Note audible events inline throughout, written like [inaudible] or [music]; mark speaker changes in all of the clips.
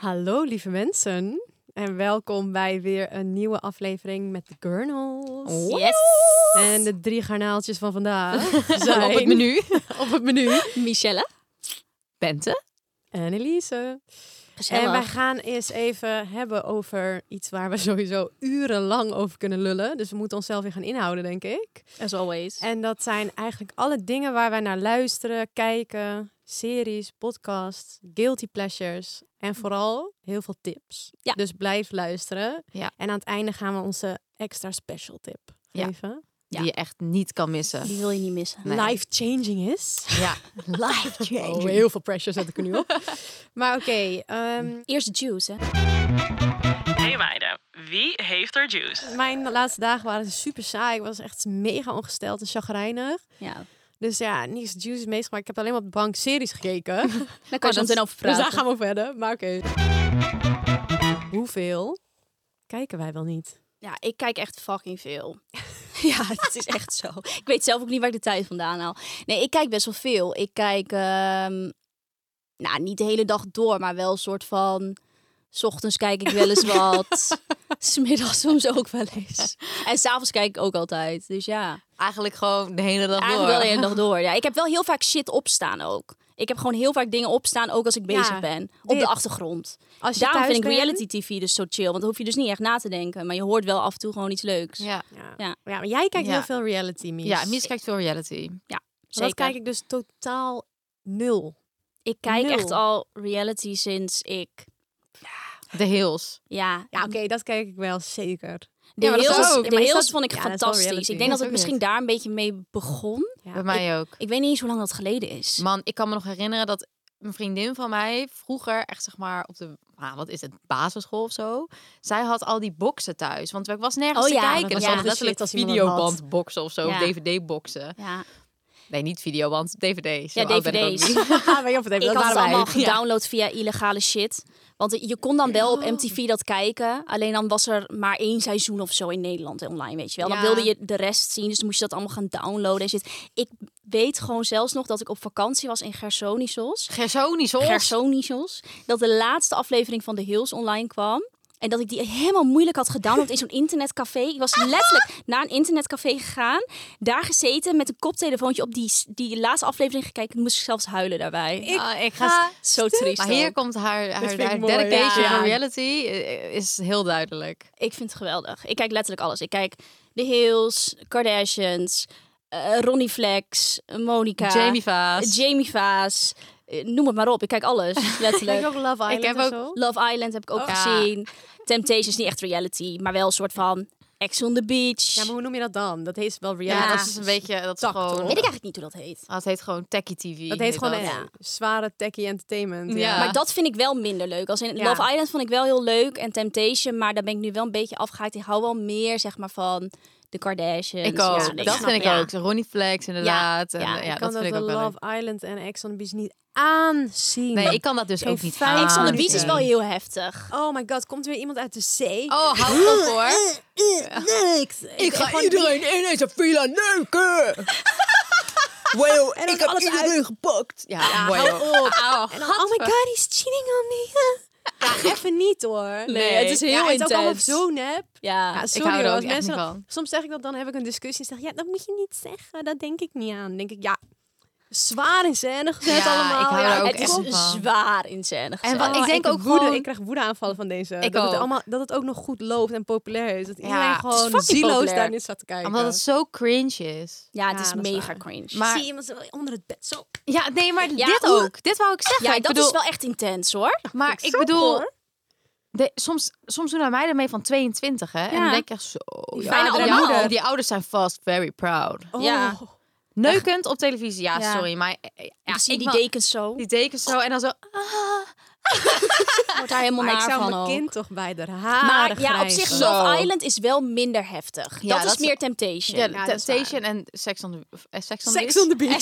Speaker 1: Hallo lieve mensen en welkom bij weer een nieuwe aflevering met de Gurnals.
Speaker 2: Yes.
Speaker 1: En de drie garnaaltjes van vandaag
Speaker 2: Zo
Speaker 1: zijn
Speaker 2: [laughs] op het menu.
Speaker 1: op het menu.
Speaker 2: [laughs] Michelle. Bente.
Speaker 1: En Elise. En wij gaan eens even hebben over iets waar we sowieso urenlang over kunnen lullen. Dus we moeten onszelf weer gaan inhouden, denk ik.
Speaker 2: As always.
Speaker 1: En dat zijn eigenlijk alle dingen waar wij naar luisteren, kijken, series, podcasts, guilty pleasures en vooral heel veel tips.
Speaker 2: Hm. Ja.
Speaker 1: Dus blijf luisteren.
Speaker 2: Ja.
Speaker 1: En aan het einde gaan we onze extra special tip
Speaker 2: Ja.
Speaker 1: geven.
Speaker 2: Die je echt niet kan missen.
Speaker 3: Die wil je niet missen.
Speaker 2: Nee.
Speaker 1: Life changing is.
Speaker 2: Ja.
Speaker 3: Life
Speaker 1: Oh,
Speaker 3: change.
Speaker 1: heel veel pressure zet ik er nu
Speaker 2: [laughs]
Speaker 1: op. maar oké, ehm,
Speaker 3: Eerst juice, hè?
Speaker 4: Hey meiden, wie heeft er juice?
Speaker 1: mijn laatste dagen waren super saai. Ik was echt mega ongesteld en chagrijnig.
Speaker 3: Ja.
Speaker 1: Dus ja, niks juice meegemaakt. Ik heb alleen maar op de bank series gekeken.
Speaker 2: [laughs]
Speaker 3: Daar kan je zo
Speaker 2: Oh, dat-
Speaker 3: meteen over
Speaker 1: Dus
Speaker 3: praten.
Speaker 1: daar gaan we over verder. Maar oké. Hoeveel kijken wij wel niet?
Speaker 3: Ja, ik kijk echt fucking veel. [laughs] ja, het is echt zo. Ik weet zelf ook niet waar ik de tijd vandaan haal. Nee, ik kijk best wel veel. Ik kijk, ehm, nou, niet de hele dag door, maar wel een soort van... 's ochtends kijk ik wel eens wat. Smiddags soms ook wel eens. En s'avonds kijk ik ook altijd. Dus ja,
Speaker 2: Eigenlijk gewoon de hele dag
Speaker 3: eigenlijk wel de
Speaker 2: door. [laughs]
Speaker 3: hele dag door. Ja, ik heb wel heel vaak shit opstaan ook. Ik heb gewoon heel vaak dingen opstaan, ook als ik
Speaker 1: Ja,
Speaker 3: bezig ben. Op
Speaker 1: dit.
Speaker 3: de achtergrond.
Speaker 1: Als je
Speaker 3: Daarom
Speaker 1: thuis
Speaker 3: vind ik
Speaker 1: bent-
Speaker 3: reality tv dus zo chill. Want dan hoef je dus niet echt na te denken. Maar je hoort wel af en toe gewoon iets leuks.
Speaker 2: Ja.
Speaker 1: Ja. ja.
Speaker 3: Ja.
Speaker 1: maar jij kijkt
Speaker 2: Ja.
Speaker 1: heel veel reality, Mies.
Speaker 2: Ja, Mies kijkt veel reality.
Speaker 1: Maar
Speaker 3: Zeker.
Speaker 1: Dat kijk ik dus totaal nul.
Speaker 3: ik kijk
Speaker 1: nul.
Speaker 3: echt al reality sinds ik...
Speaker 2: De Hills.
Speaker 3: Ja,
Speaker 1: Ja, oké, dat kijk ik wel,
Speaker 2: [laughs]
Speaker 1: zeker.
Speaker 3: de
Speaker 2: maar dat is
Speaker 3: Hills,
Speaker 2: ook-
Speaker 3: de
Speaker 1: maar is
Speaker 3: Hills
Speaker 1: dat-
Speaker 3: vond ik
Speaker 1: ja, dat is wel
Speaker 3: fantastisch.
Speaker 1: reality.
Speaker 3: Ik denk
Speaker 2: Dat
Speaker 3: dat
Speaker 2: is
Speaker 3: het
Speaker 2: ook
Speaker 3: misschien
Speaker 2: weer.
Speaker 3: daar een beetje mee begon.
Speaker 1: Ja.
Speaker 2: Bij mij ook.
Speaker 3: Ik weet niet eens hoe lang dat geleden is.
Speaker 2: Man, ik kan me nog herinneren dat een vriendin van mij vroeger echt zeg maar op de ah, wat is het basisschool of zo. Zij had al die boxen thuis, want ik was nergens
Speaker 3: Oh
Speaker 2: te
Speaker 3: ja,
Speaker 2: kijken.
Speaker 3: dat
Speaker 2: Dat
Speaker 3: was
Speaker 2: was
Speaker 3: echt
Speaker 1: de
Speaker 2: letterlijk
Speaker 1: shit als iemand dat had.
Speaker 2: videobandboxen of zo,
Speaker 3: Ja.
Speaker 2: DVD-boxen.
Speaker 3: ja,
Speaker 2: Nee, niet videoband, DVD. Zo
Speaker 3: ja
Speaker 2: oud ben ik ook
Speaker 3: dvd's.
Speaker 2: niet. [laughs]
Speaker 1: Ah, weet je of het even,
Speaker 3: Ik
Speaker 1: [laughs] dat
Speaker 3: had het
Speaker 1: waren wij.
Speaker 3: allemaal gedownload via illegale shit. Want je kon dan wel op MTV dat kijken. Alleen dan was er maar één seizoen of zo in Nederland online, weet je wel. Dan
Speaker 2: Ja.
Speaker 3: wilde je de rest zien, dus dan moest je dat allemaal gaan downloaden en shit. Ik weet gewoon zelfs nog dat ik op vakantie was in Gersonisos.
Speaker 2: Gersonisch hoor.
Speaker 3: Gersonisos. Dat de laatste aflevering van The Hills online kwam. En dat ik die helemaal moeilijk had gedownload in zo'n internetcafé. Ik was letterlijk naar een internetcafé gegaan. Daar gezeten met een koptelefoontje op die, die laatste aflevering gekeken. Moest ik zelfs huilen daarbij.
Speaker 2: Ah, ik ga...
Speaker 3: Zo triest.
Speaker 2: Maar hier komt haar, haar,
Speaker 1: vind ik
Speaker 2: haar
Speaker 1: mooi.
Speaker 2: dedication
Speaker 3: Ja.
Speaker 2: voor reality eh, is heel duidelijk.
Speaker 3: Ik vind het geweldig. Ik kijk letterlijk alles. Ik kijk The Hills, Kardashians, eh, Ronnie Flex, Monica,
Speaker 2: Jamie Vaas.
Speaker 3: Jamie Vaas. Eh, noem het maar op. Ik kijk alles.
Speaker 2: [laughs]
Speaker 1: Kijk je
Speaker 3: Letterlijk.
Speaker 1: ook Love Island
Speaker 2: Ik heb
Speaker 1: en
Speaker 2: ook-
Speaker 1: zo?
Speaker 3: Love Island heb ik ook
Speaker 2: Ja.
Speaker 3: gezien. Temptations, niet echt reality, maar wel een soort van Ex on the Beach.
Speaker 1: Ja, maar hoe noem je dat dan? Dat heet wel
Speaker 2: ja,
Speaker 1: reality.
Speaker 2: dat is een beetje... Dat is
Speaker 1: Tak,
Speaker 2: gewoon...
Speaker 1: toch?
Speaker 3: Weet ik eigenlijk niet hoe dat heet.
Speaker 2: Ah, het heet gewoon Techie TV.
Speaker 1: Dat heet gewoon
Speaker 2: dat.
Speaker 1: een zware techie entertainment.
Speaker 2: Ja.
Speaker 1: Ja.
Speaker 3: Maar dat vind ik wel minder leuk. Als in
Speaker 1: Ah. Ja.
Speaker 3: Love Island vond ik wel heel leuk en Temptation, maar daar ben ik nu wel een beetje afgehaakt. Ik hou wel meer zeg maar van de Kardashians.
Speaker 2: dus Ik ook.
Speaker 3: soort dingen.
Speaker 2: dat vind ik
Speaker 3: Ja.
Speaker 2: ook. Ronnie Flex inderdaad. En,
Speaker 3: ja,
Speaker 2: eh,
Speaker 3: ik
Speaker 2: ja,
Speaker 1: ik
Speaker 2: dat
Speaker 1: kan
Speaker 2: vind
Speaker 1: dat
Speaker 2: ik ook
Speaker 1: de
Speaker 2: wel leuk.
Speaker 1: Love Island en Ex on the Beach niet aanzien.
Speaker 2: Nee, ik kan dat dus
Speaker 1: Geen
Speaker 2: ook niet
Speaker 1: fijn-
Speaker 2: aan.
Speaker 3: Ex on the
Speaker 1: Ah,
Speaker 3: Beach is
Speaker 1: oké.
Speaker 3: wel heel heftig.
Speaker 1: Oh my god, komt weer iemand uit de zee? Eh,
Speaker 2: Oh, hou op hoor.
Speaker 1: Niks.
Speaker 2: [laughs] Ik ga iedereen in deze villa
Speaker 1: [laughs]
Speaker 2: neuken.
Speaker 1: Wow, en ik heb alles uit.
Speaker 2: gepakt. Ja, mooi.
Speaker 1: hou
Speaker 2: hoor. Au,
Speaker 1: En dan, oh my god, he's cheating on me. [laughs] Ja, even niet hoor.
Speaker 2: Nee, het is
Speaker 1: Ja,
Speaker 3: heel
Speaker 1: het is ook allemaal
Speaker 3: intens.
Speaker 1: zo nep.
Speaker 3: Ja.
Speaker 1: Ja, Ah, sorry,
Speaker 2: hou er
Speaker 1: hoor,
Speaker 2: ook
Speaker 1: als
Speaker 2: echt
Speaker 1: mensen
Speaker 2: niet
Speaker 1: dat-
Speaker 2: van.
Speaker 1: Soms zeg ik dat, dan heb ik een discussie. En zeg ik, ja, dat moet je niet zeggen. Dat denk ik niet aan. Dan denk ik, ja, zwaar in scène gezet
Speaker 2: Ja,
Speaker 1: allemaal.
Speaker 2: ik hou er
Speaker 1: ja,
Speaker 2: ook
Speaker 3: het
Speaker 1: het
Speaker 3: is
Speaker 1: komt-
Speaker 2: echt van.
Speaker 3: zwaar in scène gezet.
Speaker 2: En wat ik
Speaker 1: Oh,
Speaker 2: denk
Speaker 1: heb
Speaker 2: ook
Speaker 1: woede,
Speaker 2: gewoon-
Speaker 1: Ik krijg woedeaanvallen van deze.
Speaker 2: Ik
Speaker 1: dat,
Speaker 2: ook.
Speaker 1: Het allemaal, dat het ook nog goed loopt en populair is. Dat iedereen
Speaker 2: het is
Speaker 1: gewoon
Speaker 3: fucking
Speaker 1: zieloos
Speaker 3: populair.
Speaker 1: daar niet zat te kijken.
Speaker 2: Omdat het zo cringe is.
Speaker 3: Ja, het
Speaker 1: Ja,
Speaker 3: is
Speaker 1: dat is
Speaker 3: mega
Speaker 1: waar.
Speaker 3: cringe.
Speaker 2: Maar-
Speaker 1: Zie iemand zo onder het bed zo.
Speaker 2: Ja, nee, maar
Speaker 3: Ja,
Speaker 2: dit
Speaker 3: hoe-
Speaker 2: ook. Dit wou ik zeggen.
Speaker 3: ja,
Speaker 2: ik
Speaker 3: dat
Speaker 2: bedoel,
Speaker 3: is wel echt intens hoor.
Speaker 2: Maar ik, bedoel, de- soms, soms doen er meiden mee van 22, hè? En
Speaker 3: Ja.
Speaker 2: dan denk ik echt zo... Die,
Speaker 3: fijne allemaal.
Speaker 2: die ouders zijn vast very proud.
Speaker 1: Oh. [laughs]
Speaker 3: Ja.
Speaker 2: Neukend op televisie, ja,
Speaker 3: Ja.
Speaker 2: sorry. Maar eh, ja,
Speaker 3: Ja, zie je
Speaker 2: ik
Speaker 3: die
Speaker 2: wel-
Speaker 3: dekens zo.
Speaker 2: die dekens zo en dan zo... ah.
Speaker 3: Wordt daar helemaal
Speaker 1: Maar ik
Speaker 3: naar
Speaker 1: zou
Speaker 3: van
Speaker 1: mijn
Speaker 3: ook.
Speaker 1: kind toch bij de haren
Speaker 3: Maar ja, op
Speaker 1: grijpen.
Speaker 3: zich,
Speaker 2: Zo.
Speaker 3: Love Island is wel minder heftig.
Speaker 2: Ja,
Speaker 3: dat, is
Speaker 2: dat is-
Speaker 3: meer Temptation.
Speaker 2: Ja,
Speaker 1: dat is
Speaker 2: Temptation en Sex on the, eh, sex on the
Speaker 1: Sex
Speaker 2: Beach.
Speaker 1: on the beach.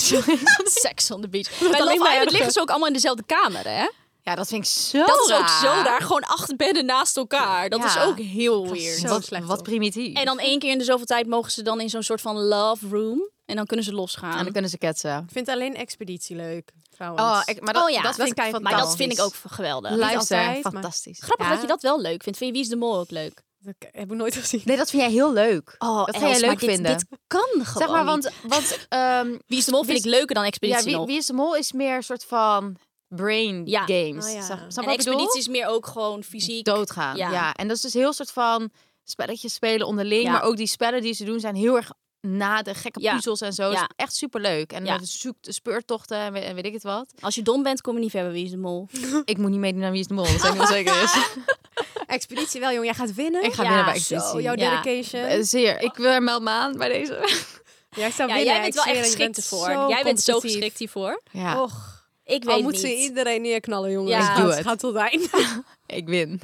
Speaker 3: [laughs] Sex on the Beach. Bij
Speaker 1: alleen maar
Speaker 3: Love Island
Speaker 1: erger.
Speaker 3: liggen ze ook allemaal in dezelfde kamer, hè?
Speaker 2: Ja, dat vind ik zo
Speaker 3: dat is ook
Speaker 2: Oh, raar.
Speaker 3: zo daar. Gewoon acht bedden naast elkaar. Dat
Speaker 2: Ja.
Speaker 3: is ook heel weird.
Speaker 1: Zo
Speaker 2: Wat,
Speaker 1: slecht
Speaker 2: wat
Speaker 1: op.
Speaker 2: primitief.
Speaker 3: En dan één keer in de zoveel tijd mogen ze dan in zo'n soort van love room. En dan kunnen ze
Speaker 2: En
Speaker 3: losgaan.
Speaker 2: dan kunnen ze ketsen.
Speaker 1: Ik vind alleen expeditie leuk, trouwens.
Speaker 2: Oh, ik, maar dat,
Speaker 3: Oh ja,
Speaker 2: dat
Speaker 3: dat
Speaker 2: vind ik
Speaker 1: kijk-
Speaker 3: maar dat
Speaker 2: fantastisch.
Speaker 3: vind ik ook geweldig.
Speaker 1: Niet
Speaker 2: Luister,
Speaker 1: altijd, maar-
Speaker 2: fantastisch.
Speaker 3: Grappig
Speaker 2: Ja.
Speaker 3: dat je dat wel leuk vindt. Vind je Wie is de Mol ook leuk?
Speaker 1: Dat heb ik nooit [laughs] gezien.
Speaker 2: Nee, dat vind jij heel leuk.
Speaker 3: Oh,
Speaker 2: dat
Speaker 3: Els,
Speaker 2: ga jij
Speaker 3: maar
Speaker 2: leuk
Speaker 3: dit,
Speaker 2: vinden.
Speaker 3: Dit kan gewoon
Speaker 2: zeg maar,
Speaker 3: niet.
Speaker 2: want, want ehm,
Speaker 3: Wie is de Mol vind
Speaker 2: Wie
Speaker 3: ik leuker dan
Speaker 2: ja,
Speaker 3: Expeditie
Speaker 2: wie,
Speaker 3: nog.
Speaker 2: wie is de mol is meer een soort van brain
Speaker 3: Ja.
Speaker 2: games.
Speaker 1: Oh ja.
Speaker 2: Snap- snap je
Speaker 3: en
Speaker 2: wat ik bedoel?
Speaker 3: Expeditie is meer ook gewoon fysiek.
Speaker 2: doodgaan.
Speaker 3: Ja.
Speaker 2: Ja. en dat is dus heel soort van spelletjes spelen onderling,
Speaker 3: Ja.
Speaker 2: maar ook die spellen die ze doen zijn heel erg na de gekke
Speaker 3: Ja.
Speaker 2: puzzels en zo.
Speaker 3: Ja.
Speaker 2: Is echt superleuk. En
Speaker 3: Ja.
Speaker 2: met zoek speurtochten en weet, en weet ik het wat.
Speaker 3: Als je dom bent, kom je niet verder bij Wie is de Mol.
Speaker 2: ik moet niet meedoen naar wie is de mol, dat zijn ik wel zeker is.
Speaker 1: Expeditie wel, jongen. Jij gaat winnen.
Speaker 2: Ik ga
Speaker 3: Ja,
Speaker 2: weer naar
Speaker 3: zo,
Speaker 1: Zo,
Speaker 2: expeditie.
Speaker 1: jouw
Speaker 3: Ja.
Speaker 1: dedication.
Speaker 2: Eh, Zeer, ik wil er meld me aan bij deze.
Speaker 1: Jij zou
Speaker 3: Ja,
Speaker 1: winnen.
Speaker 3: jij bent
Speaker 1: Ik
Speaker 3: wel
Speaker 1: zweer
Speaker 3: echt
Speaker 1: het, je
Speaker 3: geschikt
Speaker 1: bent
Speaker 3: voor. Jij bent zo
Speaker 1: competitief.
Speaker 3: geschikt hiervoor.
Speaker 2: Ja,
Speaker 1: Och,
Speaker 3: Ik weet
Speaker 1: al
Speaker 3: het
Speaker 1: moet
Speaker 3: niet.
Speaker 1: Oh, ze iedereen neerknallen, jongen.
Speaker 3: Ja.
Speaker 1: Ja,
Speaker 3: Ik
Speaker 2: doe
Speaker 1: het
Speaker 2: het.
Speaker 1: gaat tot eind.
Speaker 2: ik win.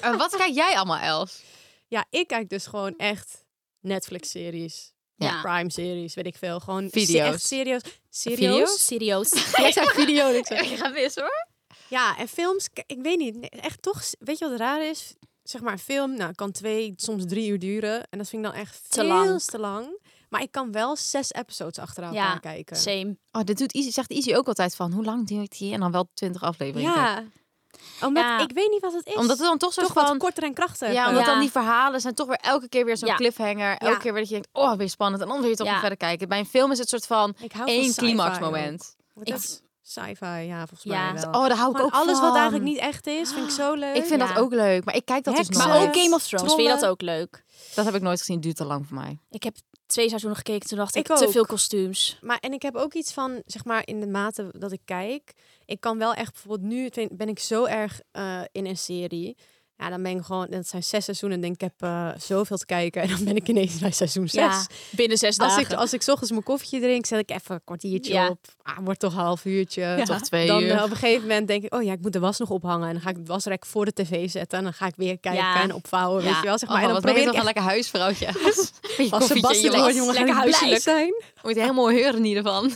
Speaker 2: Eh, wat kijk jij allemaal, Els?
Speaker 1: ja, ik kijk dus gewoon echt Netflix-series.
Speaker 3: Ja.
Speaker 1: Prime-series, weet ik veel. Gewoon se-
Speaker 2: Video's.
Speaker 1: echt serieus.
Speaker 2: Video's?
Speaker 1: Serieus?
Speaker 3: Serieus.
Speaker 1: Jij zei video. ik zei-
Speaker 2: Ik ga mis hoor.
Speaker 1: Ja, en films, k- ik weet niet. nee, Echt toch, s- weet je wat raar is? Zeg maar, een film nou, kan twee, soms drie uur duren. En dat vind ik dan echt
Speaker 3: Te
Speaker 1: veel
Speaker 3: lang.
Speaker 1: te lang. Maar ik kan wel zes episodes achter elkaar
Speaker 3: Ja,
Speaker 1: kijken.
Speaker 3: Same.
Speaker 2: Oh, dit doet Izzy, zegt Izzy ook altijd van, hoe lang duurt die? En dan wel 20 afleveringen.
Speaker 1: Ja. Omdat,
Speaker 3: Ja.
Speaker 1: ik weet niet wat het is.
Speaker 2: Omdat het dan toch zo
Speaker 1: toch wat
Speaker 2: van...
Speaker 1: korter en krachtiger.
Speaker 2: Ja, omdat
Speaker 3: Ja.
Speaker 2: dan die verhalen zijn toch weer elke keer weer zo'n
Speaker 3: Ja.
Speaker 2: cliffhanger. Elke
Speaker 1: Ja.
Speaker 2: keer weer dat je denkt, oh, weer spannend. En dan wil je toch
Speaker 3: Ja.
Speaker 2: weer verder kijken. Bij een film is het soort van
Speaker 1: Ik hou van
Speaker 2: één
Speaker 1: sci-fi
Speaker 2: climaxmoment.
Speaker 1: ook.
Speaker 3: Ik-
Speaker 1: Dat is sci-fi, ja, volgens
Speaker 3: Ja.
Speaker 1: mij wel.
Speaker 2: Oh, daar hou ik
Speaker 1: Gewoon
Speaker 2: ook
Speaker 1: alles wat
Speaker 2: van.
Speaker 1: eigenlijk niet echt is, vind ik zo leuk.
Speaker 2: Ik vind
Speaker 3: Ja.
Speaker 2: dat ook leuk, maar ik kijk dat dus
Speaker 1: Heksen.
Speaker 2: nooit.
Speaker 3: Maar ook Game of Thrones. Vind je dat
Speaker 1: Trollen.
Speaker 3: ook leuk?
Speaker 2: Dat heb ik nooit gezien, duurt te lang voor mij.
Speaker 3: Ik heb twee seizoenen gekeken. Toen dacht ik,
Speaker 1: Ik
Speaker 3: te
Speaker 1: ook.
Speaker 3: veel kostuums.
Speaker 1: Maar en ik heb ook iets van, zeg maar, in de mate dat ik kijk. Ik kan wel echt bijvoorbeeld nu vind- ben ik zo erg eh, in een serie. Ja, dan ben ik gewoon, dat zijn zes seizoenen. En denk ik heb eh, zoveel te kijken. En dan ben ik ineens bij seizoen zes.
Speaker 3: Ja, binnen zes
Speaker 1: Als
Speaker 3: dagen.
Speaker 1: ik, als ik 's ochtends mijn koffietje drink, zet ik even een kwartiertje
Speaker 3: Ja.
Speaker 1: op. Ah, wordt toch een half uurtje.
Speaker 2: Toch twee
Speaker 1: dan
Speaker 2: uur.
Speaker 1: eh, op een gegeven moment denk ik, oh ja, ik moet de was nog ophangen. En dan ga ik het wasrek voor de tv zetten. En dan ga ik weer kijken
Speaker 3: Ja.
Speaker 1: en opvouwen, weet
Speaker 3: Ja.
Speaker 1: je wel. Zeg
Speaker 2: Oh,
Speaker 1: maar. en dan
Speaker 2: wat ben je
Speaker 1: probeer
Speaker 2: toch
Speaker 1: ik
Speaker 2: een
Speaker 1: echt,
Speaker 2: lekker huisvrouwtje. Met je
Speaker 1: als
Speaker 2: koffietje in je
Speaker 1: Sebastian wordt,
Speaker 2: was.
Speaker 1: jongen,
Speaker 3: lekker
Speaker 1: lekker huiselijk
Speaker 3: huiselijk.
Speaker 1: zijn.
Speaker 2: Moet je helemaal heuren in ieder geval.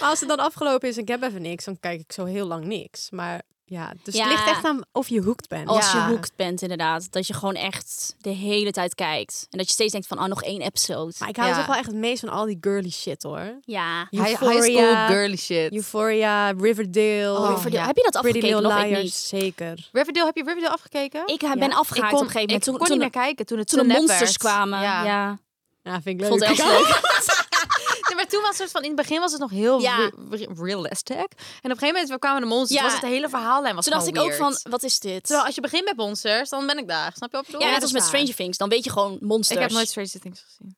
Speaker 1: Maar als het dan afgelopen is en ik heb even niks, dan kijk ik zo heel lang niks. Maar ja, dus
Speaker 3: Ja.
Speaker 1: het ligt echt aan of je hoekt bent.
Speaker 3: Als
Speaker 2: Ja.
Speaker 3: je hoekt bent, inderdaad. Dat je gewoon echt de hele tijd kijkt. En dat je steeds denkt van, oh, nog één episode.
Speaker 1: Maar ik hou
Speaker 2: Ja.
Speaker 1: toch wel echt het meest van al die girly shit hoor.
Speaker 3: Ja.
Speaker 2: High, high
Speaker 1: Euphoria.
Speaker 2: school girly shit.
Speaker 1: Euphoria, Riverdale,
Speaker 2: Oh,
Speaker 3: Riverdale.
Speaker 2: ja.
Speaker 3: Heb je dat
Speaker 1: Pretty
Speaker 3: afgekeken?
Speaker 1: Little
Speaker 3: Nog ik
Speaker 1: Liars,
Speaker 3: niet.
Speaker 1: zeker.
Speaker 2: Riverdale, heb je Riverdale afgekeken?
Speaker 3: Ik eh, ben
Speaker 1: Ja.
Speaker 3: afgehaakt
Speaker 2: kon,
Speaker 3: op een gegeven moment.
Speaker 2: ik
Speaker 3: Toen,
Speaker 2: kon
Speaker 3: toen,
Speaker 2: niet meer kijken toen het
Speaker 3: toen de
Speaker 2: zo nep
Speaker 3: monsters
Speaker 2: werd.
Speaker 3: kwamen. Ja.
Speaker 1: Ja, vind ik
Speaker 3: Vond
Speaker 1: [laughs] leuk.
Speaker 3: Els leuk.
Speaker 2: [laughs] Nee, maar toen was het soort van in het begin was het nog heel
Speaker 3: Ja.
Speaker 2: re- re- realistic. En op een gegeven moment kwamen de monsters.
Speaker 3: Ja.
Speaker 2: Was het hele verhaallijn was
Speaker 3: Toen dacht ik
Speaker 2: gewoon
Speaker 3: ook
Speaker 2: weird.
Speaker 3: van, wat is dit?
Speaker 2: Terwijl als je begint met monsters, dan ben ik daar. Snap je wat ik bedoel?
Speaker 3: ja, net als met
Speaker 2: dat is waar.
Speaker 3: Stranger Things. Dan weet je gewoon monsters.
Speaker 2: Ik heb nooit Stranger Things gezien.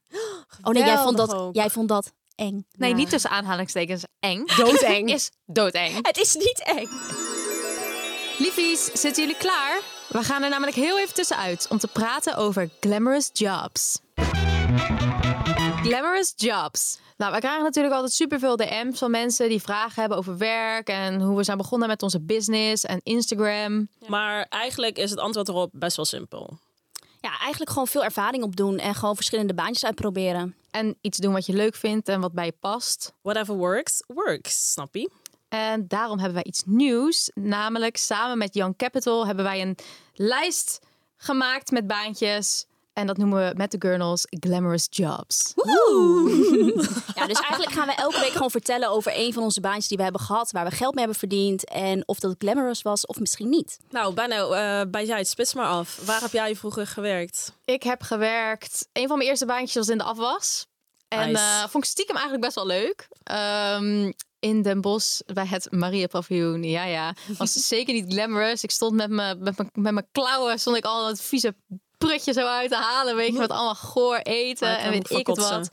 Speaker 3: Oh nee, jij vond
Speaker 1: Geweldig
Speaker 3: dat,
Speaker 1: ook.
Speaker 3: jij vond dat eng.
Speaker 2: Nee,
Speaker 1: Ja.
Speaker 2: niet tussen aanhalingstekens eng.
Speaker 1: Doodeng.
Speaker 2: [laughs] is doodeng.
Speaker 3: Het is niet eng.
Speaker 2: Liefies, zitten jullie klaar? We gaan er namelijk heel even tussenuit om te praten over glamorous jobs. Glamorous jobs. Nou, we krijgen natuurlijk altijd superveel DM's van mensen die vragen hebben over werk en hoe we zijn begonnen met onze business en Instagram.
Speaker 4: Maar eigenlijk is het antwoord erop best wel simpel.
Speaker 3: Ja, eigenlijk gewoon veel ervaring opdoen en gewoon verschillende baantjes uitproberen.
Speaker 2: En iets doen wat je leuk vindt en wat bij je past.
Speaker 5: Whatever works, works, snap je?
Speaker 2: En daarom hebben wij iets nieuws. Namelijk samen met Young Capital hebben wij een lijst gemaakt met baantjes. En dat noemen we met de Gurnals Glamorous Jobs.
Speaker 3: Ja, dus eigenlijk gaan we elke week gewoon vertellen over een van onze baantjes die we hebben gehad, waar we geld mee hebben verdiend en of dat glamorous was of misschien niet.
Speaker 5: Nou, bijna eh, bij jij, spits maar af. Waar heb jij vroeger gewerkt?
Speaker 2: Ik heb gewerkt. Een van mijn eerste baantjes was in de afwas. En
Speaker 5: Nice.
Speaker 2: eh, vond ik stiekem eigenlijk best wel leuk. Ehm, in Den Bosch bij het Maria Paviljoen. Ja, ja. Was zeker niet glamorous. Ik stond met mijn met mijn- met mijn klauwen. Stond ik al dat vieze prutje zo uit te halen. Weet je wat? Allemaal goor eten.
Speaker 5: Maar ik
Speaker 2: en
Speaker 5: kan
Speaker 2: weet ik het
Speaker 5: verkotsen.
Speaker 2: wat.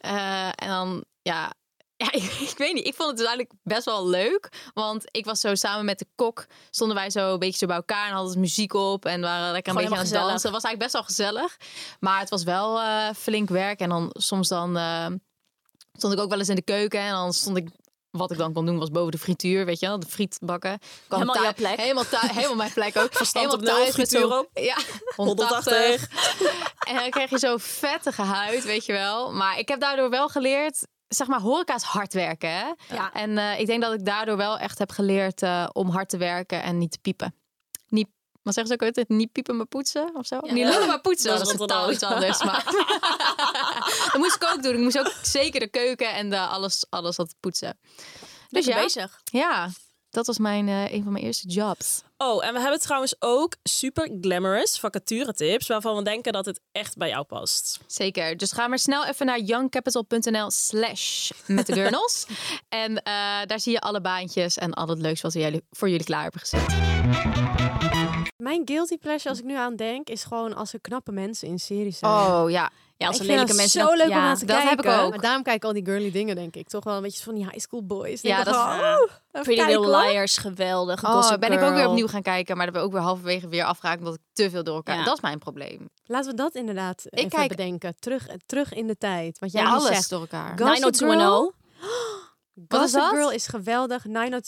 Speaker 2: Eh, en dan, ja. Ja, [laughs] ik, ik weet niet. Ik vond het dus eigenlijk best wel leuk. Want ik was zo samen met de kok. Stonden wij zo een beetje zo bij elkaar. En hadden muziek op. En waren lekker een
Speaker 3: Gewoon
Speaker 2: beetje aan het
Speaker 3: helemaal
Speaker 2: dansen. Het was eigenlijk best wel gezellig. Maar het was wel eh, flink werk. En dan soms dan eh, stond ik ook wel eens in de keuken. En dan stond ik... Wat ik dan kon doen was boven de frituur, weet je wel, de friet bakken. Kwam
Speaker 3: Helemaal
Speaker 2: thui-
Speaker 3: jouw plek.
Speaker 2: Helemaal, thui- helemaal mijn plek ook.
Speaker 5: Verstand
Speaker 2: helemaal
Speaker 5: op nul,
Speaker 2: thuis met
Speaker 5: frituur
Speaker 2: zo'n-
Speaker 5: op.
Speaker 2: Ja, 180.
Speaker 5: 180.
Speaker 2: [laughs] En dan krijg je zo'n vettige huid, weet je wel. Maar ik heb daardoor wel geleerd, zeg maar, horeca is hard werken. Hè?
Speaker 3: Ja.
Speaker 2: En eh, ik denk dat ik daardoor wel echt heb geleerd eh, om hard te werken en niet te piepen. Niet, wat zeggen ze ook altijd? Niet piepen, maar poetsen of zo? Niet lullen, maar poetsen.
Speaker 5: Dat
Speaker 2: Dat
Speaker 5: is
Speaker 2: is,
Speaker 5: Rotterdam.
Speaker 2: totaal iets anders. Maar... dat moest ik ook doen. Ik moest ook zeker de keuken en de alles, alles wat poetsen. Dus ja,
Speaker 3: bezig.
Speaker 2: ja, dat was mijn, eh, een van mijn eerste jobs.
Speaker 5: Oh, en we hebben trouwens ook super glamorous vacature tips waarvan we denken dat het echt bij jou past.
Speaker 2: Zeker. Dus ga maar snel even naar youngcapital.nl slash met de [laughs] gurnels. en eh, daar zie je alle baantjes en al het leuks wat we jullie, voor jullie klaar hebben gezet.
Speaker 1: Mijn guilty pleasure, als ik nu aan denk, is gewoon als er knappe mensen in series zijn.
Speaker 2: Oh ja.
Speaker 3: Ja, als
Speaker 1: Ik
Speaker 3: er
Speaker 1: vind
Speaker 3: lelijke
Speaker 1: dat
Speaker 3: mensen
Speaker 1: zo
Speaker 3: dan-
Speaker 1: leuk om
Speaker 3: ja,
Speaker 1: naar te
Speaker 2: dat
Speaker 1: kijken.
Speaker 2: heb ik ook.
Speaker 1: Maar daarom kijk ik al die girly dingen, denk ik. Toch wel een beetje van die high school boys.
Speaker 2: Ja,
Speaker 1: Denk ik
Speaker 2: dat
Speaker 1: gewoon,
Speaker 2: is- eh,
Speaker 1: oh, even
Speaker 3: Pretty
Speaker 1: kijken,
Speaker 3: Little
Speaker 1: hoor.
Speaker 3: Liars, geweldig.
Speaker 2: Oh,
Speaker 3: Gossip
Speaker 2: ben ik ook weer
Speaker 3: Girl.
Speaker 2: opnieuw gaan kijken, maar dat we ook weer halverwege weer afgeraakt omdat ik te veel door elkaar.
Speaker 3: Ja.
Speaker 2: Dat is mijn probleem.
Speaker 1: Laten we dat inderdaad even
Speaker 2: kijk-
Speaker 1: bedenken. Terug, terug in de tijd. Want jij
Speaker 2: Ja,
Speaker 1: nu
Speaker 2: alles
Speaker 1: zegt,
Speaker 2: door elkaar.
Speaker 1: Gossip
Speaker 3: 90210.
Speaker 2: Wat is
Speaker 1: Gossip
Speaker 2: dat?
Speaker 1: Girl is geweldig. Nine oh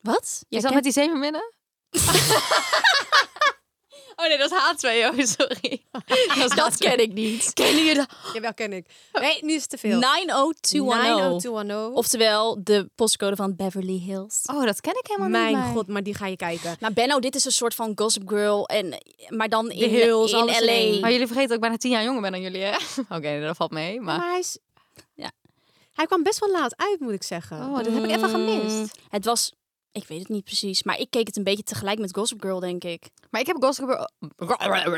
Speaker 2: [gasps]
Speaker 3: Wat?
Speaker 2: Je zat met die zeven minnen? [laughs] oh nee, dat is H2O, [laughs] sorry.
Speaker 3: [laughs]
Speaker 2: Dat,
Speaker 3: Dat ken ik niet.
Speaker 2: Kennen jullie dat?
Speaker 1: Jawel, ken ik. Nee, nu is het te veel.
Speaker 3: 90210.
Speaker 1: 90210.
Speaker 3: Oftewel de postcode van Beverly Hills.
Speaker 2: Oh, dat ken ik helemaal niet.
Speaker 1: Mijn
Speaker 2: nee.
Speaker 1: god, maar die ga je kijken.
Speaker 3: Maar Benno, dit is een soort van Gossip Girl. En, maar dan in,
Speaker 1: Hills,
Speaker 3: in Oh,
Speaker 1: alles in één.
Speaker 3: L.A.
Speaker 2: Maar jullie vergeten dat ik bijna tien jaar jonger ben dan jullie, hè? [laughs] Oké, dat valt mee, maar...
Speaker 1: Maar hij is...
Speaker 3: Ja.
Speaker 1: Hij kwam best wel laat uit, moet ik zeggen.
Speaker 2: Oh, dat heb ik even gemist.
Speaker 3: Mm. Het was, ik weet het niet precies, maar ik keek het een beetje tegelijk met Gossip Girl, denk ik.
Speaker 2: Maar ik heb Gossip Girl... [laughs]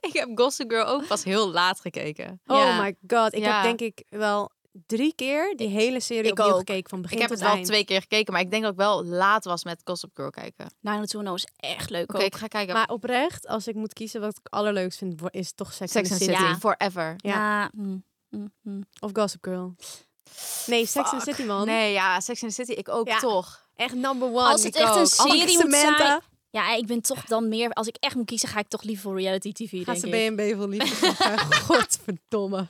Speaker 2: ik heb Gossip Girl ook pas heel laat gekeken.
Speaker 1: Oh
Speaker 2: Ja.
Speaker 1: my god. Ik
Speaker 2: Ja.
Speaker 1: heb denk ik wel drie keer die hele serie
Speaker 3: ik
Speaker 1: opnieuw
Speaker 3: ook.
Speaker 1: gekeken van begin
Speaker 2: Ik heb
Speaker 1: tot
Speaker 2: het wel
Speaker 1: eind.
Speaker 2: twee keer gekeken, maar ik denk dat ik wel laat was met Gossip Girl kijken. Oké,
Speaker 3: 90210 is echt leuk ook.
Speaker 2: ik ga kijken.
Speaker 1: Maar oprecht, als ik moet kiezen wat ik allerleukst vind, wo- is toch Sex, and
Speaker 2: Sex and
Speaker 1: the
Speaker 2: City,
Speaker 1: City.
Speaker 3: Ja.
Speaker 2: forever.
Speaker 1: Ja.
Speaker 3: Maar, mm, mm, mm.
Speaker 1: Of Gossip Girl. Nee, Sex and the City, man.
Speaker 2: Nee, ja, Sex and the City, ik ook
Speaker 1: Ja.
Speaker 2: toch.
Speaker 1: Echt number one.
Speaker 3: Oh, Als het
Speaker 1: Ik
Speaker 3: echt
Speaker 1: ook.
Speaker 3: een
Speaker 1: Anneke
Speaker 3: serie moet
Speaker 1: Samantha.
Speaker 3: zijn- Ja, ik ben toch dan meer, als ik echt moet kiezen, ga ik toch liever voor reality tv,
Speaker 1: Gaat
Speaker 3: denk
Speaker 1: ze
Speaker 3: ik.
Speaker 1: BNB
Speaker 3: [laughs]
Speaker 1: voor liefde zeggen. Godverdomme.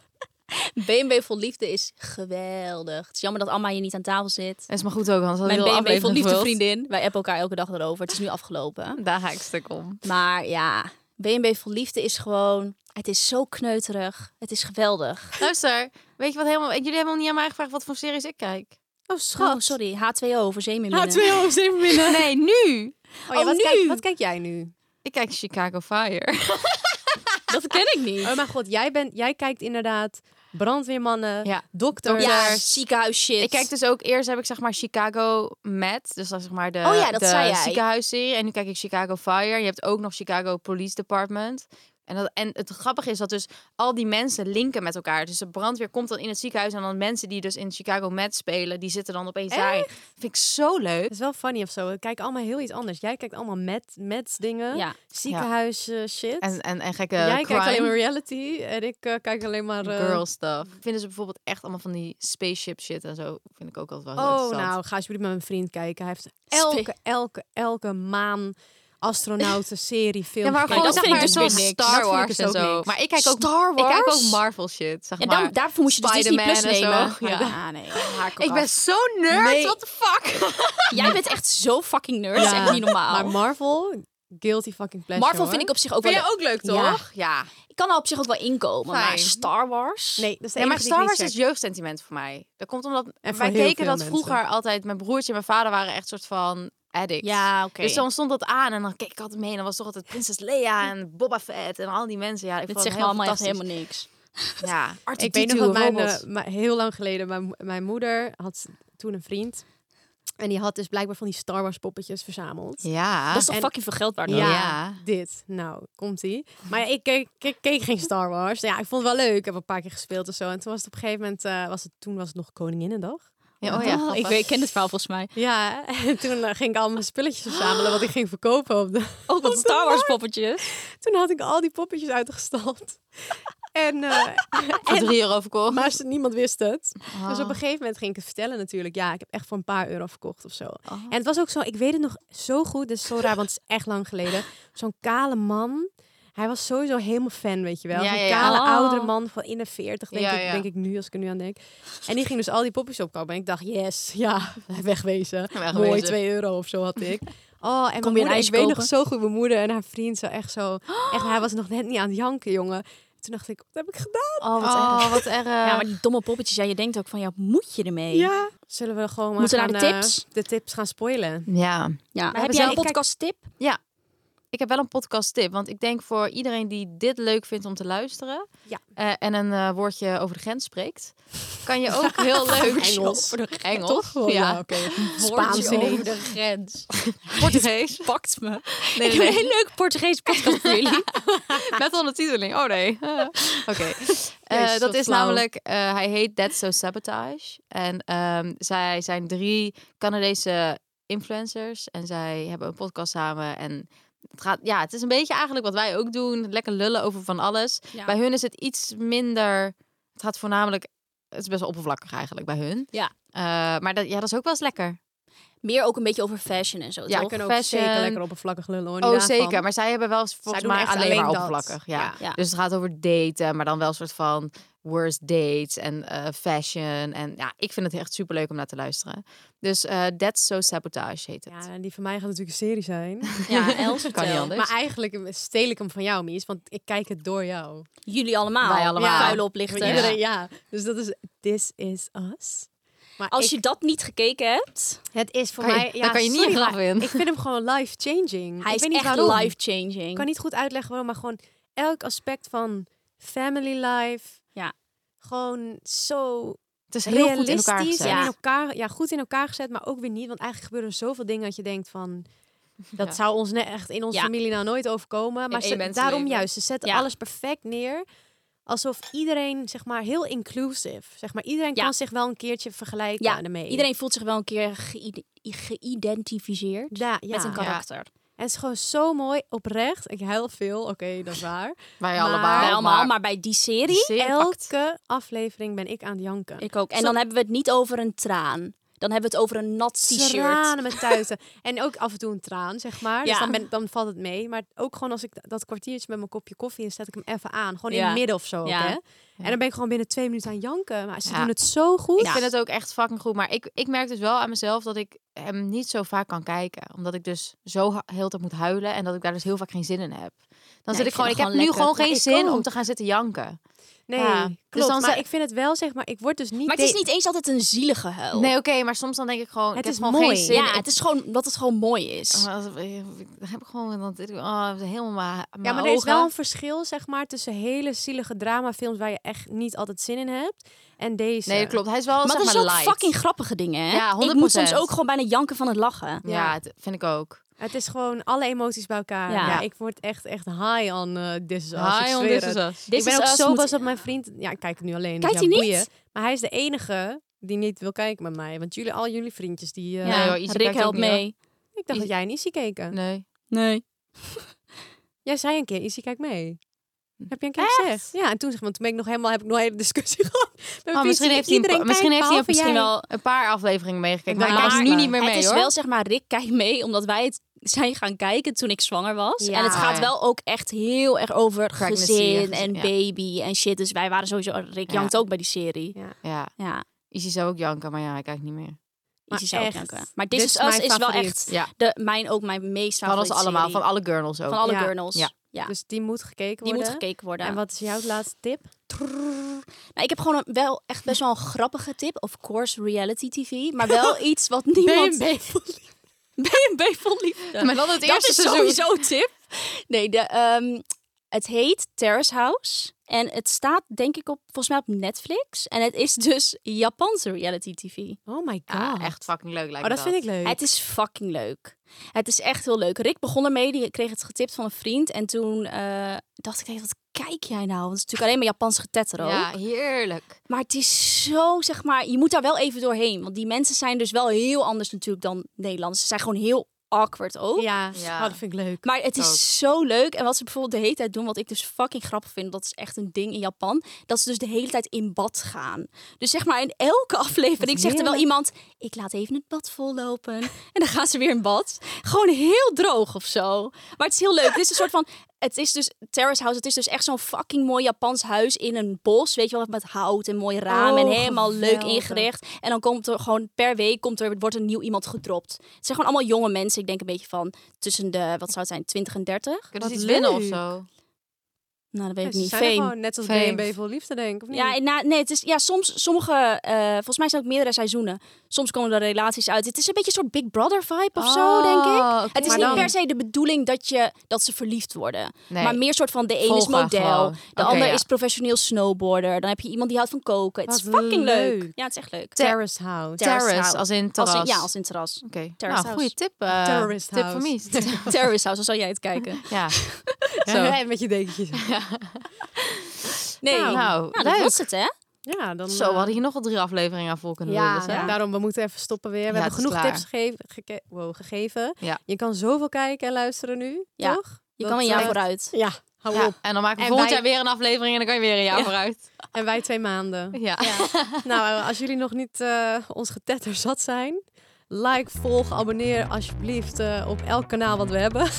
Speaker 3: BNB vol liefde is geweldig. Het is jammer dat Amma hier niet aan tafel zit.
Speaker 2: Dat is maar goed ook, anders had ik
Speaker 3: Mijn
Speaker 2: heel de
Speaker 3: BNB vol
Speaker 2: aflevering
Speaker 3: liefde
Speaker 2: gevuld.
Speaker 3: vriendin. Wij appen elkaar elke dag erover. Het is nu afgelopen.
Speaker 2: Daar ga ik stuk [laughs] om.
Speaker 3: Maar ja, BNB vol liefde is gewoon... Het is zo kneuterig. Het is geweldig.
Speaker 2: Luister, weet je wat helemaal... Jullie hebben nog niet aan mij gevraagd wat voor series ik kijk.
Speaker 1: Oh,
Speaker 3: Oh,
Speaker 1: schat.
Speaker 3: sorry. H2O voor zeemeerminnen.
Speaker 1: H2O, zeven binnen.
Speaker 2: Nee, nu!
Speaker 1: Oh, ja,
Speaker 3: Oh,
Speaker 1: wat,
Speaker 3: nu.
Speaker 1: Kijk, wat kijk jij nu?
Speaker 2: Ik kijk Chicago Fire.
Speaker 3: [laughs] Dat ken ik
Speaker 2: [laughs]
Speaker 3: niet.
Speaker 1: Oh mijn god, jij, bent, jij kijkt inderdaad brandweermannen,
Speaker 2: Ja.
Speaker 1: dokters.
Speaker 3: Ja, ziekenhuis shit.
Speaker 2: Ik kijk dus ook eerst heb ik zeg maar Chicago Med, dus dat is zeg maar de,
Speaker 3: Oh ja, dat
Speaker 2: de
Speaker 3: zei jij.
Speaker 2: ziekenhuisserie. En nu kijk ik Chicago Fire. Je hebt ook nog Chicago Police Department. En, dat, en het grappige is dat dus al die mensen linken met elkaar. Dus de brandweer komt dan in het ziekenhuis en dan mensen die dus in Chicago Med spelen, die zitten dan opeens daar. Vind ik zo leuk.
Speaker 1: Dat is wel funny of zo. We kijken allemaal heel iets anders. Jij kijkt allemaal met, met dingen,
Speaker 3: Ja. eh,
Speaker 1: ziekenhuis eh, shit.
Speaker 2: En, en, en gekke
Speaker 1: jij
Speaker 2: crime,
Speaker 1: kijkt alleen maar reality en ik eh, kijk alleen maar... eh,
Speaker 2: girl stuff. Vinden ze dus bijvoorbeeld echt allemaal van die spaceship shit en zo. Vind ik ook altijd wel heel
Speaker 1: Oh,
Speaker 2: interessant.
Speaker 1: nou, ga alsjeblieft met mijn vriend kijken. Hij heeft
Speaker 3: Spe-
Speaker 1: elke, elke, elke maan
Speaker 2: [laughs]
Speaker 1: astronauten serie, film
Speaker 2: Ja, maar
Speaker 1: gekeken.
Speaker 2: gewoon
Speaker 3: dat
Speaker 2: zeg
Speaker 3: vind
Speaker 2: maar
Speaker 3: ik dus
Speaker 2: zoals
Speaker 3: weer niks.
Speaker 2: Star
Speaker 1: Dat vind ik
Speaker 2: Wars
Speaker 1: dus
Speaker 2: en
Speaker 1: ook
Speaker 2: zo.
Speaker 1: niks.
Speaker 2: Maar ik kijk ook
Speaker 3: Star
Speaker 2: Ik kijk ook
Speaker 3: Wars?
Speaker 2: Marvel shit, zeg
Speaker 3: En
Speaker 2: maar.
Speaker 3: dan, oh, daarvoor moet je dus Disney
Speaker 2: Spider-Man
Speaker 3: Plus
Speaker 2: en zo.
Speaker 3: nemen.
Speaker 2: Ja.
Speaker 3: Ja, nee. haak op
Speaker 2: Ik ben
Speaker 3: af.
Speaker 2: zo nerd,
Speaker 1: Nee.
Speaker 2: what the fuck?
Speaker 3: Jij bent echt zo fucking nerd. Dat is
Speaker 1: Ja.
Speaker 3: echt niet normaal.
Speaker 1: Maar Marvel, guilty fucking pleasure.
Speaker 3: Marvel vind ik op zich ook wel...
Speaker 2: Vind jij ook leuk,
Speaker 3: Ja.
Speaker 2: toch? Ja.
Speaker 3: Ik kan er op zich ook wel inkomen. Maar
Speaker 2: Fijn.
Speaker 3: Star Wars?
Speaker 1: Nee, dat is de
Speaker 2: Ja, maar
Speaker 1: enige die ik
Speaker 2: Star
Speaker 1: niet
Speaker 2: Wars
Speaker 1: check.
Speaker 2: is jeugdsentiment voor mij. Dat komt omdat
Speaker 1: En voor
Speaker 2: wij
Speaker 1: heel
Speaker 2: keken
Speaker 1: veel
Speaker 2: dat
Speaker 1: mensen.
Speaker 2: vroeger altijd. Mijn broertje en mijn vader waren echt soort van addicts.
Speaker 3: Ja, oké.
Speaker 2: Dus dan stond dat aan en dan keek ik altijd mee. En dan was toch altijd Prinses Leia en Boba Fett en al die mensen. Ja, ik
Speaker 3: Dit
Speaker 2: vond
Speaker 3: zegt
Speaker 2: het
Speaker 3: me
Speaker 2: heel
Speaker 3: allemaal echt
Speaker 2: fantastisch.
Speaker 3: helemaal niks.
Speaker 2: Ja,
Speaker 1: Ik weet nog dat
Speaker 2: R2D2,
Speaker 1: mijn,
Speaker 2: robots.
Speaker 1: eh, mijn- heel lang geleden, mijn, mijn moeder had toen een vriend. En die had dus blijkbaar van die Star Wars poppetjes verzameld.
Speaker 2: Ja.
Speaker 3: Dat is toch
Speaker 1: en-
Speaker 3: fucking veel geld waard?
Speaker 1: Ja,
Speaker 3: dan?
Speaker 2: Ah, Ja.
Speaker 1: dit. Nou, komt-ie. Maar ja, ik keek, keek, keek geen Star Wars. Ja, ik vond het wel leuk. Ik heb een paar keer gespeeld of zo. En toen was het op een gegeven moment... eh, was het, toen was het nog Koninginnedag.
Speaker 2: Ja, oh ja, grappig.
Speaker 3: ik, weet, ik ken dit verhaal volgens [laughs] mij.
Speaker 1: Ja, en toen eh, ging ik al mijn spulletjes verzamelen... wat ik ging verkopen op de... [laughs]
Speaker 3: Ook dat Oh, Star Wars poppetje.
Speaker 1: Toen had ik al die poppetjes uitgestald. en, eh,
Speaker 2: Voor drie euro verkocht.
Speaker 1: [laughs] maar ze- niemand wist het. Dus op een gegeven moment ging ik het vertellen natuurlijk. Ja, ik heb echt voor een paar euro verkocht of zo. En het was ook zo, ik weet het nog zo goed. Dus zo raar, want het is echt lang geleden. Zo'n kale man. Hij was sowieso helemaal fan, weet je wel.
Speaker 2: Ja,
Speaker 1: Zo'n
Speaker 2: ja, ja.
Speaker 1: kale
Speaker 3: Oh.
Speaker 1: oudere man van in de 40, denk,
Speaker 2: Ja,
Speaker 1: ik,
Speaker 2: ja.
Speaker 1: denk ik nu, als ik er nu aan denk. En die ging dus al die poppies opkopen. En ik dacht, yes, ja, [laughs] wegwezen.
Speaker 2: Wegwezen.
Speaker 1: Mooi, 2 euro of zo had ik. Oh,
Speaker 3: Kom
Speaker 1: en mijn
Speaker 3: je een
Speaker 1: moeder,
Speaker 3: ijs
Speaker 1: ik weet nog
Speaker 3: kopen?
Speaker 1: zo goed, mijn moeder en haar vriend zo echt zo. [gasps] Echt, hij was nog net niet aan het janken, jongen. Toen dacht ik, wat heb ik gedaan?
Speaker 3: Oh, wat erg.
Speaker 2: Oh, wat erg.
Speaker 3: Ja, maar die domme poppetjes. Ja, je denkt ook van, ja, moet je ermee?
Speaker 1: Ja. Zullen we gewoon maar
Speaker 3: Moeten we
Speaker 1: gaan,
Speaker 3: naar de
Speaker 1: eh,
Speaker 3: tips?
Speaker 1: de tips gaan spoilen?
Speaker 2: ja.
Speaker 3: Ja. Heb
Speaker 1: hebben
Speaker 3: jij
Speaker 1: zelf-
Speaker 3: een
Speaker 1: ik kijk-
Speaker 3: podcast [laughs] tip?
Speaker 2: Ik heb wel een podcast tip, want ik denk voor iedereen die dit leuk vindt om te luisteren
Speaker 1: Ja.
Speaker 2: eh, en een eh, woordje over de grens spreekt, kan je
Speaker 1: [laughs]
Speaker 2: ook heel leuk
Speaker 1: Engels.
Speaker 2: [laughs] Engels,
Speaker 1: Toch? Oh,
Speaker 2: ja.
Speaker 1: Ja, oké.
Speaker 3: Spaans
Speaker 1: in
Speaker 3: over de
Speaker 2: [laughs]
Speaker 3: grens.
Speaker 2: Portugees.
Speaker 3: Pakt me.
Speaker 2: Nee,
Speaker 3: Ik
Speaker 2: nee,
Speaker 3: heb een
Speaker 2: nee.
Speaker 3: heel leuk Portugees podcast voor jullie. [laughs]
Speaker 2: Met ondertiteling. Oh nee. [laughs] Eh, Oké. Eh,
Speaker 1: Jezus,
Speaker 2: dat
Speaker 1: wat
Speaker 2: is
Speaker 1: flauw.
Speaker 2: namelijk, eh, hij heet That's So Sabotage. En ehm, zij zijn drie Canadese influencers en zij hebben een podcast samen. En het, gaat, ja, het is een beetje eigenlijk wat wij ook doen. Lekker lullen over van alles.
Speaker 3: Ja.
Speaker 2: Bij hun is het iets minder. Het gaat voornamelijk. Het is best wel oppervlakkig eigenlijk bij hun.
Speaker 3: Ja.
Speaker 2: Eh, maar dat, ja, dat is ook wel eens lekker.
Speaker 3: Meer ook een beetje over fashion en zo,
Speaker 2: Ja,
Speaker 3: toch?
Speaker 2: ik-
Speaker 1: kunnen ook zeker
Speaker 2: Fashion.
Speaker 1: lekker oppervlakkig lullen hoor. niet
Speaker 2: Oh,
Speaker 1: daarvan.
Speaker 2: zeker. Maar zij hebben wel eens volgens
Speaker 1: doen
Speaker 2: mij
Speaker 1: echt
Speaker 2: alleen,
Speaker 1: alleen
Speaker 2: maar
Speaker 1: dat.
Speaker 2: oppervlakkig. Ja.
Speaker 1: Ja.
Speaker 3: Ja.
Speaker 2: [laughs] Dus het gaat over daten, maar dan wel een soort van worst dates en eh, fashion. En ja, ik vind het echt superleuk om naar te luisteren. Dus eh That's So Sabotage heet het.
Speaker 1: Ja, en die van mij gaat natuurlijk een serie zijn.
Speaker 3: Ja, Els,
Speaker 2: kan niet
Speaker 3: vertel.
Speaker 2: anders.
Speaker 1: Maar eigenlijk steel ik hem van jou, Mies, want ik kijk het door jou.
Speaker 3: Jullie allemaal.
Speaker 2: Wij allemaal.
Speaker 3: Vuile
Speaker 1: Voor
Speaker 3: oplichters.
Speaker 1: Iedereen, ja. Dus dat is This Is Us. Maar
Speaker 3: Als
Speaker 1: ik-
Speaker 3: je dat niet gekeken hebt,
Speaker 1: het is voor
Speaker 2: Kan je-
Speaker 1: mij...
Speaker 2: daar kan je niet
Speaker 1: sorry,
Speaker 2: graag
Speaker 1: maar
Speaker 2: in.
Speaker 1: Ik vind hem gewoon life-changing.
Speaker 3: hij
Speaker 1: ik
Speaker 3: is
Speaker 1: weet niet
Speaker 3: echt
Speaker 1: waarom. Ik
Speaker 3: life-changing.
Speaker 1: kan niet goed uitleggen waarom, maar gewoon elk aspect van family life.
Speaker 3: Ja.
Speaker 1: Gewoon zo
Speaker 2: Het is heel goed in
Speaker 1: realistisch
Speaker 2: elkaar gezet.
Speaker 1: en
Speaker 3: Ja.
Speaker 1: in elkaar, ja, goed in elkaar gezet, maar ook weer niet. Want eigenlijk gebeuren er zoveel dingen dat je denkt van... Dat
Speaker 2: Ja.
Speaker 1: zou ons net echt in onze
Speaker 3: Ja.
Speaker 1: familie nou nooit overkomen. Maar
Speaker 2: één
Speaker 1: ze,
Speaker 2: mensenleven.
Speaker 1: daarom juist, ze zetten
Speaker 3: Ja.
Speaker 1: alles perfect neer. Alsof iedereen, zeg maar, heel inclusive. Zeg maar, iedereen
Speaker 3: Ja.
Speaker 1: kan zich wel een keertje vergelijken
Speaker 3: Ja,
Speaker 1: ermee.
Speaker 3: Iedereen voelt zich wel een keer geïde- geïdentificeerd
Speaker 1: Ja, ja.
Speaker 3: met een karakter.
Speaker 1: En het is gewoon zo mooi, oprecht. Ik huil veel, oké, dat is waar.
Speaker 2: Wij
Speaker 1: Maar-
Speaker 2: allemaal.
Speaker 3: Bij
Speaker 1: Wij
Speaker 3: allemaal, maar,
Speaker 2: maar
Speaker 3: bij die
Speaker 2: die
Speaker 3: serie...
Speaker 2: serie pakt.
Speaker 1: Elke aflevering ben ik aan het janken.
Speaker 3: Ik ook. En
Speaker 1: Zo-
Speaker 3: dan hebben we het niet over een traan. Dan hebben we het over een nat t-shirt.
Speaker 1: tranen met tuiten. en ook af en toe een traan, zeg maar. Dus
Speaker 3: Ja.
Speaker 1: dan, ben, dan valt het mee. Maar ook gewoon als ik dat kwartiertje met mijn kopje koffie... en zet ik hem even aan. Gewoon in
Speaker 3: Ja.
Speaker 1: het midden of zo. ook,
Speaker 3: Ja.
Speaker 1: Hè? En dan ben ik gewoon binnen twee minuten aan janken. Maar ze
Speaker 2: Ja.
Speaker 1: doen het zo goed.
Speaker 2: Ik vind het ook echt fucking goed. Maar ik, ik merk dus wel aan mezelf dat ik hem niet zo vaak kan kijken. Omdat ik dus zo ha- heel de tijd moet huilen. En dat ik daar dus heel vaak geen zin in heb. Dan zit
Speaker 3: ik
Speaker 2: ik
Speaker 3: vind
Speaker 2: gewoon,
Speaker 3: het
Speaker 2: ik heb
Speaker 3: gewoon
Speaker 2: nu
Speaker 3: lekker.
Speaker 2: gewoon
Speaker 1: Ja,
Speaker 2: geen
Speaker 1: ik
Speaker 2: zin om
Speaker 1: ook.
Speaker 2: te gaan zitten janken.
Speaker 1: Nee,
Speaker 2: Ja.
Speaker 1: klopt.
Speaker 2: Dus dan
Speaker 1: maar
Speaker 2: ze-
Speaker 1: ik vind het wel, zeg maar... Ik word dus niet...
Speaker 3: Maar het is
Speaker 1: de-
Speaker 3: niet eens altijd een zielige huil.
Speaker 2: Nee, oké, maar soms dan denk ik gewoon,
Speaker 1: Oh. Het
Speaker 2: ik heb
Speaker 1: is
Speaker 2: gewoon
Speaker 1: mooi.
Speaker 2: geen zin.
Speaker 3: ja, het is gewoon dat het gewoon mooi
Speaker 2: Oh, [laughs]
Speaker 3: is.
Speaker 2: Dan heb ik gewoon, dan zit ik- oh, helemaal maar
Speaker 1: Ja, maar er is wel een verschil, zeg maar... tussen hele zielige dramafilms... waar je echt niet altijd zin in hebt... en deze.
Speaker 2: Nee, dat klopt. Hij is wel,
Speaker 3: Maar
Speaker 2: zeg
Speaker 3: dat
Speaker 2: maar,
Speaker 3: is ook
Speaker 2: light.
Speaker 3: fucking grappige dingen, hè?
Speaker 2: Ja,
Speaker 3: Ik moet
Speaker 2: 100%.
Speaker 3: soms ook gewoon bijna janken van het lachen.
Speaker 2: Ja, dat vind ik ook.
Speaker 1: Het is gewoon alle emoties bij elkaar.
Speaker 3: Ja.
Speaker 1: Ja. ik word echt, echt high on eh This Is Us. ik
Speaker 2: Hi, on
Speaker 1: zweer
Speaker 2: This
Speaker 1: het.
Speaker 2: Ah, Is Us.
Speaker 3: Dit
Speaker 1: ik ben ook
Speaker 3: is
Speaker 1: zo
Speaker 3: moet-
Speaker 1: boos op mijn vriend. Ja, ik kijk het nu alleen.
Speaker 3: Kijkt
Speaker 1: dus
Speaker 3: hij
Speaker 1: ja,
Speaker 3: niet?
Speaker 1: boeien. Maar hij is de enige die niet wil kijken met mij. Want jullie, al jullie vriendjes, die... eh,
Speaker 2: Ja. Nee, hoor, Izzy
Speaker 3: Rick
Speaker 2: kijkt ook
Speaker 3: helpt
Speaker 2: niet, hoor.
Speaker 3: mee.
Speaker 1: Ik dacht dat jij en Izzy keken.
Speaker 2: Nee.
Speaker 3: Nee.
Speaker 1: Jij zei een keer, Izzy, kijk mee. Heb je een keer gezegd? Ja, en toen, zeg maar, toen ben ik nog helemaal, heb ik nog een hele discussie [laughs] gehad. met mijn
Speaker 2: Oh,
Speaker 1: vriendjes.
Speaker 2: misschien heeft hij, een
Speaker 1: Iedereen
Speaker 2: pa- misschien, heeft
Speaker 1: kijkt,
Speaker 2: hij
Speaker 1: behalve
Speaker 2: misschien
Speaker 1: jij.
Speaker 2: wel een paar afleveringen meegekeken. Maar,
Speaker 1: Maar
Speaker 2: hij kijkt nu
Speaker 1: maar-
Speaker 2: niet meer mee,
Speaker 3: het is
Speaker 2: hoor.
Speaker 3: wel zeg maar, Rick kijkt mee, omdat wij het [laughs] zijn gaan kijken toen ik zwanger was.
Speaker 1: Ja.
Speaker 3: En het gaat wel ook echt heel erg over
Speaker 2: Pregnancy en
Speaker 3: gezin
Speaker 2: gezin,
Speaker 3: en
Speaker 2: ja.
Speaker 3: baby en shit. Dus wij waren sowieso, Rick
Speaker 2: Ja.
Speaker 3: jankt ook bij die serie.
Speaker 1: Ja.
Speaker 2: Ja,
Speaker 3: Ja.
Speaker 2: Izzy zou ook janken, maar ja, hij kijkt niet meer.
Speaker 1: Maar
Speaker 3: Easy zou ik
Speaker 1: echt.
Speaker 3: denken. Maar This
Speaker 1: Dit
Speaker 3: Is
Speaker 1: is
Speaker 3: Us
Speaker 1: mijn
Speaker 3: Dus is wel
Speaker 1: favoriet.
Speaker 3: echt
Speaker 2: Ja,
Speaker 3: de, mijn, ook mijn meest
Speaker 2: van ons
Speaker 3: favoriete
Speaker 2: allemaal,
Speaker 3: serie.
Speaker 2: van alle girls ook.
Speaker 3: Van alle
Speaker 1: Ja.
Speaker 3: girls.
Speaker 2: Ja.
Speaker 3: Ja.
Speaker 1: Dus die moet gekeken
Speaker 3: Die
Speaker 1: worden.
Speaker 3: moet gekeken worden.
Speaker 1: En wat is jouw laatste tip?
Speaker 3: Nou, ik heb gewoon een- wel echt best wel een grappige tip. Of course, reality TV. Maar [laughs] wel iets wat niemand...
Speaker 1: B&B
Speaker 3: [laughs] B&B vol liefde.
Speaker 2: Maar dan [laughs] het
Speaker 3: Dat
Speaker 2: eerste
Speaker 3: is
Speaker 2: seizoen.
Speaker 3: sowieso een tip. Nee, de, ehm, het heet Terrace House. En het staat denk ik op, volgens mij op Netflix. En het is dus Japanse reality tv.
Speaker 1: Oh my god.
Speaker 2: Ja, echt fucking leuk lijkt
Speaker 1: Oh, dat vind ik leuk.
Speaker 3: Het is fucking leuk. Het is echt heel leuk. Rick begon ermee, die kreeg het getipt van een vriend. En toen eh, dacht ik, hey, wat kijk jij nou? Want het is natuurlijk alleen maar Japans getetter ook.
Speaker 2: Ja, heerlijk.
Speaker 3: Maar het is zo, zeg maar, je moet daar wel even doorheen. Want die mensen zijn dus wel heel anders natuurlijk dan Nederlanders. Ze zijn gewoon heel awkward ook.
Speaker 1: Ja,
Speaker 2: Ja.
Speaker 1: Oh, dat vind ik leuk.
Speaker 3: Maar het is
Speaker 2: Ook.
Speaker 3: zo leuk. En wat ze bijvoorbeeld de hele tijd doen, wat ik dus fucking grappig vind, dat is echt een ding in Japan, dat ze dus de hele tijd in bad gaan. Dus zeg maar in elke [laughs] aflevering zegt er wel iemand, ik laat even het bad vollopen. [laughs] En dan gaan ze weer in bad. Gewoon heel droog of zo. Maar het is heel leuk. Het is een soort van, het is dus Terrace House, het is dus echt zo'n fucking mooi Japans huis in een bos, weet je wel, met hout en mooi raam en
Speaker 1: Oh,
Speaker 3: helemaal leuk
Speaker 1: geweldig.
Speaker 3: ingericht. En dan komt er gewoon per week komt er, wordt een nieuw iemand gedropt. Het zijn gewoon allemaal jonge mensen. Ik denk een beetje van tussen de, wat zou het zijn, 20 en 30?
Speaker 2: Kunnen ze
Speaker 1: Wat
Speaker 2: iets winnen of
Speaker 1: leuk.
Speaker 2: zo?
Speaker 3: Nou, dat weet
Speaker 1: Ja,
Speaker 3: ik
Speaker 1: ze
Speaker 3: niet.
Speaker 1: zijn er
Speaker 3: Fame.
Speaker 1: gewoon net als
Speaker 2: Fame.
Speaker 1: B&B vol liefde, denk ik. Of niet?
Speaker 3: Ja, en na, nee, het is, ja, soms, sommige, eh, volgens mij zijn ook meerdere seizoenen. Soms komen er relaties uit. Het is een beetje een soort Big Brother vibe of zo,
Speaker 2: Ah.
Speaker 3: denk ik.
Speaker 2: Oh,
Speaker 3: Het is
Speaker 1: maar
Speaker 3: niet
Speaker 1: dan-
Speaker 3: per se de bedoeling dat, je, dat ze verliefd worden.
Speaker 2: Nee.
Speaker 3: Maar meer soort van de ene is
Speaker 2: Volgen
Speaker 3: model,
Speaker 2: gewoon.
Speaker 3: de
Speaker 2: Oké,
Speaker 3: ander
Speaker 2: ja.
Speaker 3: is professioneel snowboarder. Dan heb je iemand die houdt van koken. Het is
Speaker 1: Wat
Speaker 3: fucking leuk.
Speaker 1: leuk.
Speaker 3: Ja, het is echt leuk.
Speaker 1: Terrace House.
Speaker 3: Terrace
Speaker 2: Terrace,
Speaker 3: house.
Speaker 2: als in
Speaker 3: Als
Speaker 2: terras.
Speaker 3: in- ja, als in terras.
Speaker 2: Oké,
Speaker 3: Terrace house.
Speaker 2: nou, goede tip. eh,
Speaker 1: Terrorist
Speaker 2: tip
Speaker 1: house.
Speaker 2: voor
Speaker 3: [laughs]
Speaker 2: mij.
Speaker 3: Terrace House, zo zou jij het
Speaker 2: [laughs]
Speaker 3: kijken.
Speaker 2: ja.
Speaker 1: [laughs] Ja, en met je dekentjes.
Speaker 3: Nee,
Speaker 1: Nou,
Speaker 3: nou,
Speaker 2: Nou,
Speaker 3: dat
Speaker 2: leuk.
Speaker 3: was het hè.
Speaker 1: Ja, dan... eh,
Speaker 2: Zo, we hadden hier nog al drie afleveringen aan vol kunnen
Speaker 3: eh, Ja,
Speaker 2: lullen, zeg.
Speaker 1: Ja, nou, daarom, we moeten even stoppen weer. We
Speaker 2: Ja,
Speaker 1: hebben
Speaker 2: het is
Speaker 1: genoeg
Speaker 2: klaar.
Speaker 1: tips gegeven. geke- wow, gegeven.
Speaker 2: Ja.
Speaker 1: Je kan zoveel kijken en luisteren nu,
Speaker 3: Ja.
Speaker 1: toch?
Speaker 3: Je
Speaker 1: Dat,
Speaker 3: kan een jaar
Speaker 1: eh,
Speaker 3: vooruit.
Speaker 1: Ja, hou
Speaker 2: Ja,
Speaker 1: op.
Speaker 2: En dan maken we
Speaker 1: En
Speaker 2: volgend
Speaker 1: wij-
Speaker 2: jaar weer een aflevering en dan kan je weer een jaar
Speaker 3: Ja.
Speaker 2: vooruit.
Speaker 1: En wij twee maanden.
Speaker 2: [laughs] Ja.
Speaker 3: [laughs]
Speaker 1: nou, eh, als jullie nog niet eh, ons getetter zat zijn... Like, volg, abonneer alsjeblieft eh, op elk kanaal wat we hebben.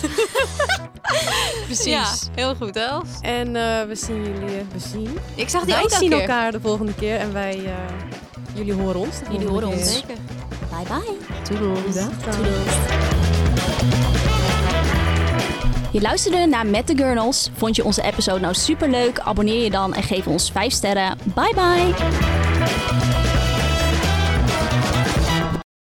Speaker 1: [laughs]
Speaker 2: precies. heel goed, Els.
Speaker 1: En eh, we zien jullie. eh, we zien.
Speaker 2: Ik zag die
Speaker 1: Wij
Speaker 2: ook
Speaker 1: zien
Speaker 2: Nou, keer.
Speaker 1: elkaar de volgende keer. En wij... eh, jullie horen ons. de
Speaker 3: Jullie
Speaker 1: volgende
Speaker 3: horen
Speaker 1: keer.
Speaker 3: ons.
Speaker 2: Zeker.
Speaker 3: Bye bye.
Speaker 1: Dag dan.
Speaker 3: Je luisterde naar Met de Gurnals. Vond je onze episode nou superleuk? Abonneer je dan en geef ons 5 sterren. Bye bye.